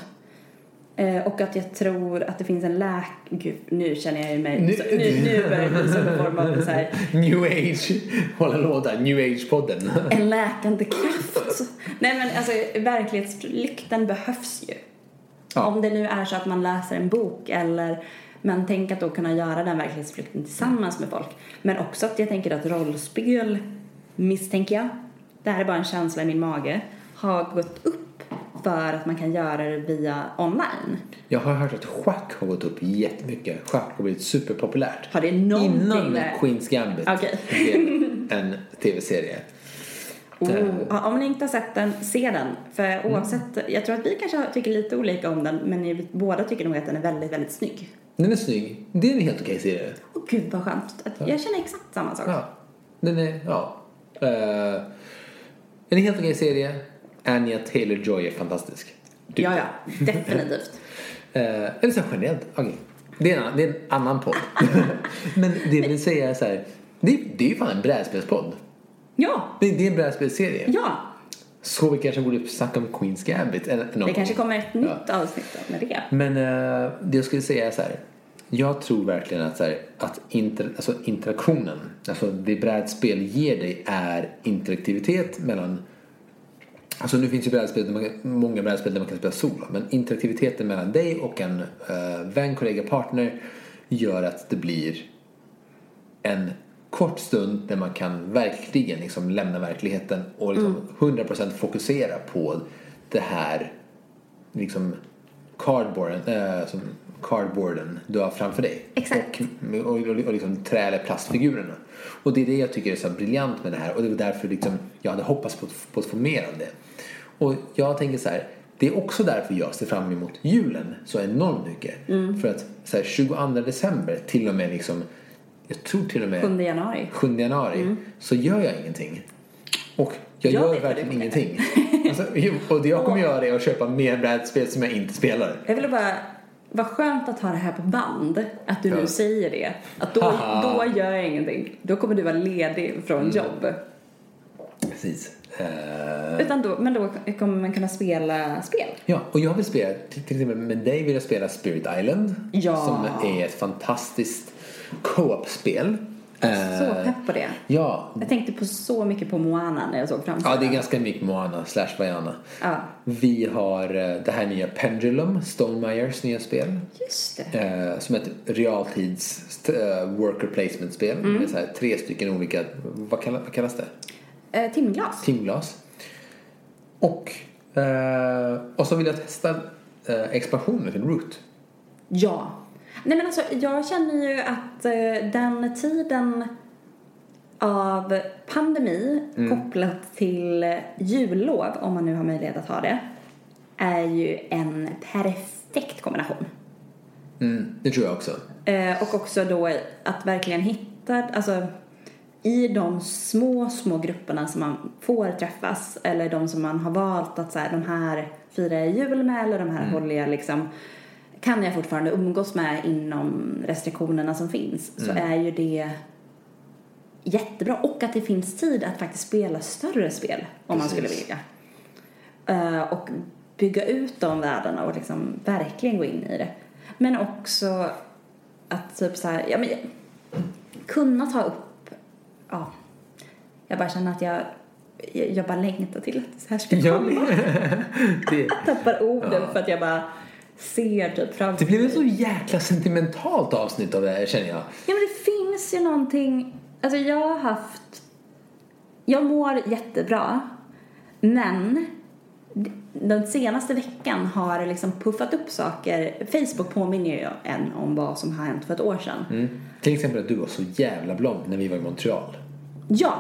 [SPEAKER 2] Eh, och att jag tror att det finns en läk... Gud, nu känner jag ju mig...
[SPEAKER 1] Nu-
[SPEAKER 2] Nu, så, nu, nu börjar det bli som form av så här,
[SPEAKER 1] New Age, hålla låda, New Age-podden.
[SPEAKER 2] en läkande kraft. Nej men alltså verklighetsflykten behövs ju.
[SPEAKER 1] Ja.
[SPEAKER 2] Om det nu är så att man läser en bok eller men tänk att då kunna göra den verklighetsflykten tillsammans med folk. Men också att jag tänker att rollspel, misstänker jag, det här är bara en känsla i min mage, har gått upp för att man kan göra det via online.
[SPEAKER 1] Jag har hört att schack har gått upp jättemycket. Schack har blivit superpopulärt.
[SPEAKER 2] Har det någonting
[SPEAKER 1] Innan
[SPEAKER 2] med-
[SPEAKER 1] Queens Gambit
[SPEAKER 2] Okej.
[SPEAKER 1] blev en tv-serie. Eh.
[SPEAKER 2] Oh. Ja, om ni inte har sett den, se den.
[SPEAKER 1] Mm.
[SPEAKER 2] För oavsett, jag tror att vi kanske tycker lite olika om den, men ni båda tycker nog att den är väldigt, väldigt snygg.
[SPEAKER 1] Den är snygg. Det är en helt okej serie.
[SPEAKER 2] Och gud vad skönt. Att Jag känner exakt samma sak.
[SPEAKER 1] Ja. Den är, ja. Eh, en helt okej serie. Anya Taylor-Joy är fantastisk. Typ.
[SPEAKER 2] Ja, ja, definitivt.
[SPEAKER 1] Eh, eller så här generellt. Okej. Det, är en, annan- det är en annan podd. Men det vill säga så här. Det, det är ju fan en brädspelspodd.
[SPEAKER 2] Ja,
[SPEAKER 1] Det, det är en brädspelsserie.
[SPEAKER 2] ja.
[SPEAKER 1] Så vi kanske borde snacka om Queens Gambit. eller någon
[SPEAKER 2] Det
[SPEAKER 1] gång.
[SPEAKER 2] kanske kommer ett nytt avsnitt med det.
[SPEAKER 1] Men eh, det jag skulle säga är så här. Jag tror verkligen att, så här, att inter, alltså interaktionen, alltså det brädspel ger dig är interaktivitet mellan Alltså nu finns ju brädspel, där man kan- många brädspel där man kan spela solo. Men interaktiviteten mellan dig och en eh, vän, kollega, partner gör att det blir en kort stund där man kan verkligen liksom lämna verkligheten och liksom 100% fokusera på det här liksom cardboarden, eh, som cardboarden du har framför dig.
[SPEAKER 2] Exakt.
[SPEAKER 1] Och, och, och, och liksom trä eller plastfigurerna. Och det är det jag tycker är så briljant med det här och det var därför liksom jag hade hoppats på, att- på att få mer av det. Och jag tänker så här, det är också därför jag ser fram emot julen så enormt mycket. För att så här, 22 december till och med liksom, jag tror till och med
[SPEAKER 2] 7 januari.
[SPEAKER 1] 7 januari så gör jag ingenting. Och jag,
[SPEAKER 2] Jag
[SPEAKER 1] gör
[SPEAKER 2] vet vad
[SPEAKER 1] verkligen
[SPEAKER 2] du menar.
[SPEAKER 1] ingenting. Alltså, jo, och det jag kommer göra är att köpa mer brädspel som jag inte spelar.
[SPEAKER 2] Jag ville bara... Vad skönt att ha det här på band, att du
[SPEAKER 1] Ja.
[SPEAKER 2] nu säger det. Att då,
[SPEAKER 1] Haha. Mm.
[SPEAKER 2] då gör jag ingenting. Då kommer du vara ledig från jobb.
[SPEAKER 1] Precis. Eh,
[SPEAKER 2] Utan då, men då kommer man kunna spela spel.
[SPEAKER 1] ja, och jag vill spela, till till exempel med dig vill jag spela Spirit Island.
[SPEAKER 2] Ja.
[SPEAKER 1] Som är ett fantastiskt co-op-spel. Eh,
[SPEAKER 2] Så pepp på det.
[SPEAKER 1] ja,
[SPEAKER 2] Jag tänkte på så mycket på Moana när jag såg framför
[SPEAKER 1] ja, det är ganska mycket Moana slash Vaiana.
[SPEAKER 2] Ja.
[SPEAKER 1] Vi har eh, det här nya Pendulum, Stone Myers nya spel.
[SPEAKER 2] Just det.
[SPEAKER 1] eh, som ett realtids eh, worker placement-spel.
[SPEAKER 2] Mm.
[SPEAKER 1] Med så här, tre stycken olika, vad kallas, vad kallas det?
[SPEAKER 2] Eh, timglas.
[SPEAKER 1] Timglas. Och, eh, och så vill jag testa eh, expansionen till Root.
[SPEAKER 2] Ja. Nej men alltså jag känner ju att eh, den tiden av pandemi
[SPEAKER 1] Mm.
[SPEAKER 2] kopplat till jullov, om man nu har möjlighet att ha det, är ju en perfekt kombination.
[SPEAKER 1] Mm, det tror jag också.
[SPEAKER 2] Eh, och också då att verkligen hitta, alltså i de små, små grupperna som man får träffas eller de som man har valt att så här, de här firar jag jul med eller de här håller jag liksom kan jag fortfarande umgås med inom restriktionerna som finns så är ju det jättebra och att det finns tid att faktiskt spela större spel om man skulle
[SPEAKER 1] Precis.
[SPEAKER 2] vilja. Eh, och bygga ut de värdena och liksom verkligen gå in i det. Men också att typ så här, ja men kunna ta upp, ja, jag bara känner att jag, jag, jag bara längtar till att det här ska
[SPEAKER 1] Ja,
[SPEAKER 2] komma.
[SPEAKER 1] det,
[SPEAKER 2] Tappar orden för att jag bara ser typ
[SPEAKER 1] det
[SPEAKER 2] framför
[SPEAKER 1] blev ett så jäkla sentimentalt avsnitt av det här känner jag.
[SPEAKER 2] Ja men det finns ju någonting, alltså jag har haft, jag mår jättebra men d- den senaste veckan har det liksom puffat upp saker. Facebook påminner ju en om vad som har hänt för ett år sedan.
[SPEAKER 1] Mm. Till exempel att du var så jävla blond när vi var i Montreal.
[SPEAKER 2] Ja,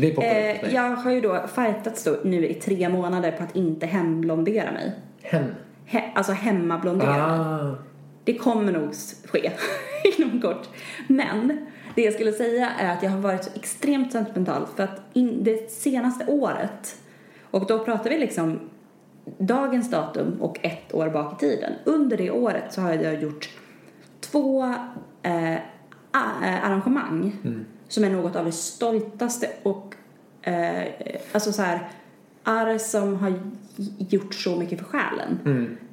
[SPEAKER 1] Det poppade upp hos
[SPEAKER 2] eh,
[SPEAKER 1] mig.
[SPEAKER 2] jag har ju då fightats då nu i tre månader på att inte hemblondera mig.
[SPEAKER 1] Hen.
[SPEAKER 2] He- alltså hemmablondera.
[SPEAKER 1] Ah.
[SPEAKER 2] Det kommer nog ske inom kort. Men det jag skulle säga är att jag har varit så extremt sentimental för att in, det senaste året, och då pratar vi liksom dagens datum och ett år bak i tiden. Under det året så har jag gjort två eh, a- eh, arrangemang som är något av det stoltaste och eh, alltså så här, kroppar som har gjort så mycket för själen.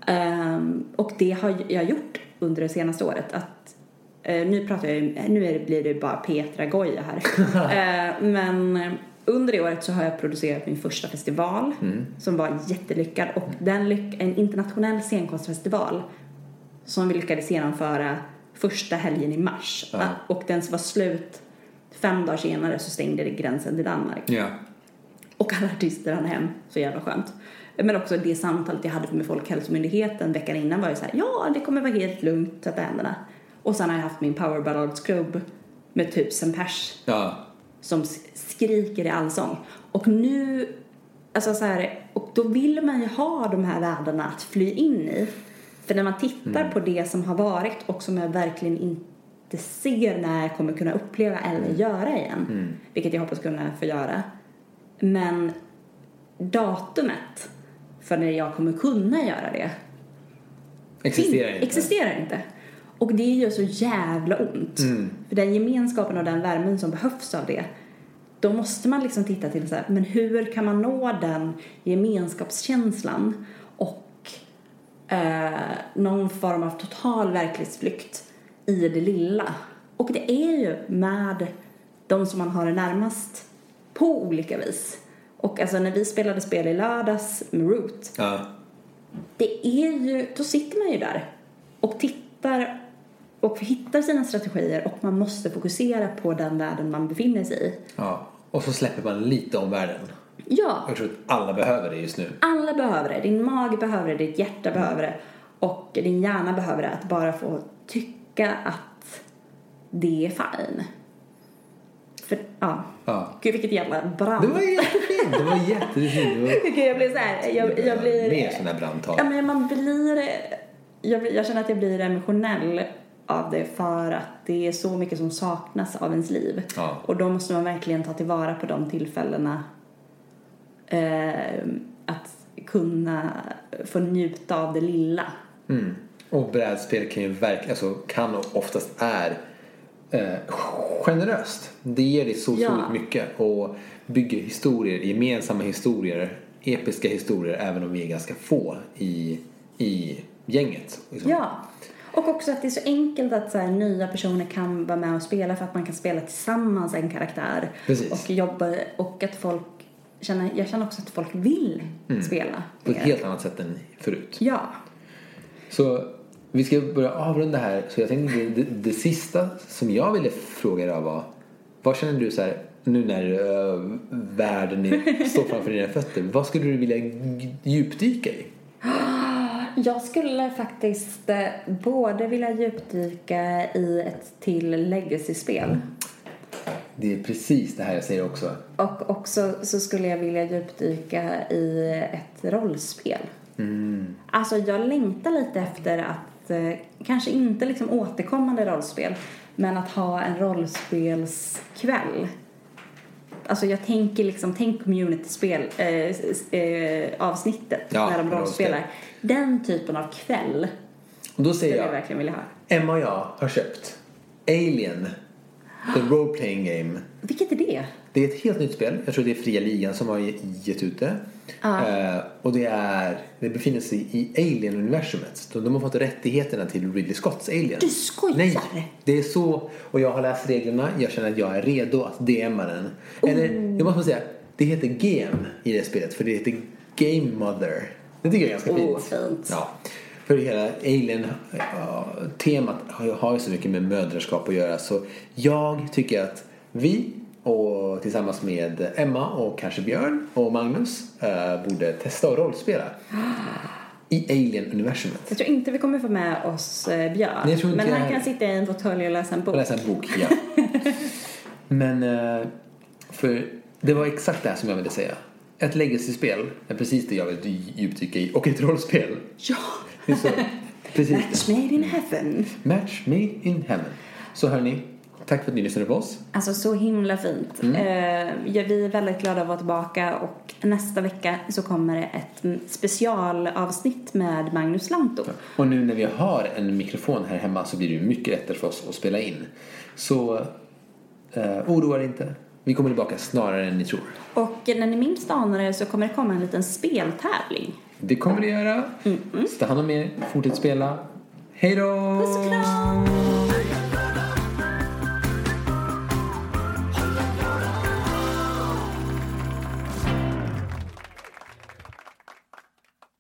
[SPEAKER 2] Ehm, och det har jag gjort under det senaste året. Att, eh, nu pratar jag ju, nu är det, blir det bara Petra Goya här. Eh, men under det året så har jag producerat min första festival som var jättelyckad och den lyck, en internationell scenkonstfestival som vi lyckades genomföra första helgen i mars.
[SPEAKER 1] Ja.
[SPEAKER 2] Och den var slut fem dagar senare så stängde det gränsen till Danmark.
[SPEAKER 1] Ja.
[SPEAKER 2] Och alla artister hann hem. Så jävla skönt. Men också det samtalet jag hade med Folkhälsomyndigheten veckan innan var ju så här, ja det kommer vara helt lugnt, tvätta händerna. Och sen har jag haft min Power Ballads Club med typ tusen pers
[SPEAKER 1] Ja.
[SPEAKER 2] som s- skriker i allsång. Och nu, alltså så här, och då vill man ju ha de här världarna att fly in i. För när man tittar på det som har varit och som jag verkligen inte ser när jag kommer kunna uppleva eller göra igen, vilket jag hoppas kunna få göra. Men datumet för när jag kommer kunna göra det
[SPEAKER 1] Existerar
[SPEAKER 2] fin-
[SPEAKER 1] inte.
[SPEAKER 2] existerar inte. Och det gör så jävla ont.
[SPEAKER 1] Mm.
[SPEAKER 2] För den gemenskapen och den värmen som behövs av det. Då måste man liksom titta till så här, men hur kan man nå den gemenskapskänslan och eh, någon form av total verklighetsflykt i det lilla. Och det är ju med de som man har det närmast på olika vis. Och alltså när vi spelade spel i lördags med Root,
[SPEAKER 1] Ja.
[SPEAKER 2] det är ju, då sitter man ju där och tittar och hittar sina strategier och man måste fokusera på den världen man befinner sig i.
[SPEAKER 1] ja. Och så släpper man lite om världen.
[SPEAKER 2] Ja,
[SPEAKER 1] Jag tror att alla behöver det just nu.
[SPEAKER 2] alla behöver det. Din mage behöver det, ditt hjärta behöver det och din hjärna behöver det. Att bara få tycka att det är fine. För, ja.
[SPEAKER 1] Ja.
[SPEAKER 2] Gud, vilket jävla brand.
[SPEAKER 1] Det var jättefint. Det var jättefint. Det var...
[SPEAKER 2] Gud, jag blir så här, jag, jag blir...
[SPEAKER 1] Mer sådana här brandtal.
[SPEAKER 2] Ja, men man blir... Jag, blir- jag känner att jag blir emotionell av det för att det är så mycket som saknas av ens liv.
[SPEAKER 1] Ja.
[SPEAKER 2] Och då måste man verkligen ta tillvara på de tillfällena. Eh, att kunna få njuta av det lilla.
[SPEAKER 1] Mm. Och brädspel kan ju verkligen, alltså kan och oftast är eh, generöst. Det ger dig så otroligt
[SPEAKER 2] Ja.
[SPEAKER 1] mycket och bygger historier, gemensamma historier, episka historier även om vi är ganska få i, i gänget. liksom.
[SPEAKER 2] Ja. Och också att det är så enkelt att så här, nya personer kan vara med och spela för att man kan spela tillsammans en karaktär.
[SPEAKER 1] Precis.
[SPEAKER 2] Och jobba och att folk känner, jag känner också att folk vill spela.
[SPEAKER 1] Mm. På ett
[SPEAKER 2] mer.
[SPEAKER 1] helt annat sätt än förut.
[SPEAKER 2] Ja.
[SPEAKER 1] Så vi ska börja avrunda här. Så jag tänkte det, det, det sista som jag ville fråga dig var. Vad känner du så här nu när eh, världen är, står framför dina fötter? Vad skulle du vilja g- djupdyka i?
[SPEAKER 2] Jag skulle faktiskt eh, både vilja djupdyka i ett till legacy-spel
[SPEAKER 1] Det är precis det här jag säger också.
[SPEAKER 2] och också så skulle jag vilja djupdyka i ett rollspel.
[SPEAKER 1] Mm.
[SPEAKER 2] Alltså jag längtar lite efter att, eh, kanske inte liksom återkommande rollspel, men att ha en rollspelskväll. Alltså jag tänker liksom, tänk community-spel, eh, s- eh, avsnittet
[SPEAKER 1] Ja,
[SPEAKER 2] när de
[SPEAKER 1] rollspel.
[SPEAKER 2] rollspelar. Den typen av kväll
[SPEAKER 1] Och då
[SPEAKER 2] skulle
[SPEAKER 1] säger
[SPEAKER 2] jag
[SPEAKER 1] jag,
[SPEAKER 2] verkligen vilja ha.
[SPEAKER 1] Emma och jag har köpt Alien, the role playing game.
[SPEAKER 2] Vilket är det?
[SPEAKER 1] Det är ett helt nytt spel. Jag tror det är Fria Ligan som har gett ut det. Eh, och det, är, det befinner sig i Alien-universumet. De, de har fått rättigheterna till Ridley Scotts Alien.
[SPEAKER 2] Du skojar!
[SPEAKER 1] Nej, det är så. Och jag har läst reglerna. Jag känner att jag är redo att DMa den. Eller, jag måste bara säga. Det heter GM i det spelet. För det heter Game Mother. Det tycker jag är ganska
[SPEAKER 2] Oh,
[SPEAKER 1] fint.
[SPEAKER 2] fint.
[SPEAKER 1] Ja. För hela alien-temat har ju- har ju så mycket med mödraskap att göra så jag tycker att vi och tillsammans med Emma och kanske Björn och Magnus eh, borde testa att rollspela i alien-universumet.
[SPEAKER 2] Jag tror inte vi kommer få med oss eh, Björn.
[SPEAKER 1] Nej, jag tror inte
[SPEAKER 2] men
[SPEAKER 1] jag
[SPEAKER 2] han kan
[SPEAKER 1] heller.
[SPEAKER 2] sitta i en fåtölj och läsa en bok.
[SPEAKER 1] Och läsa en bok, ja. Men eh, för det var exakt det här som jag ville säga. Ett legacy-spel är precis det jag vill dy- djupdyka i och ett rollspel.
[SPEAKER 2] Ja!
[SPEAKER 1] Det är så, precis det.
[SPEAKER 2] Match made in heaven.
[SPEAKER 1] Match me in heaven. Så hörni, tack för att ni lyssnade på oss.
[SPEAKER 2] Alltså så himla fint.
[SPEAKER 1] Mm.
[SPEAKER 2] Eh, ja, vi är väldigt glada att vara tillbaka och nästa vecka så kommer det ett mm, specialavsnitt med Magnus Lantto.
[SPEAKER 1] Och nu när vi har en mikrofon här hemma så blir det ju mycket lättare för oss att spela in. Så eh, oroa er inte. Vi kommer tillbaka snarare än ni tror.
[SPEAKER 2] Och när ni minst anar det så kommer det komma en liten speltävling.
[SPEAKER 1] Det kommer det göra. Så ta hand om er, fortsätt spela. Hej då!
[SPEAKER 2] Puss och kram!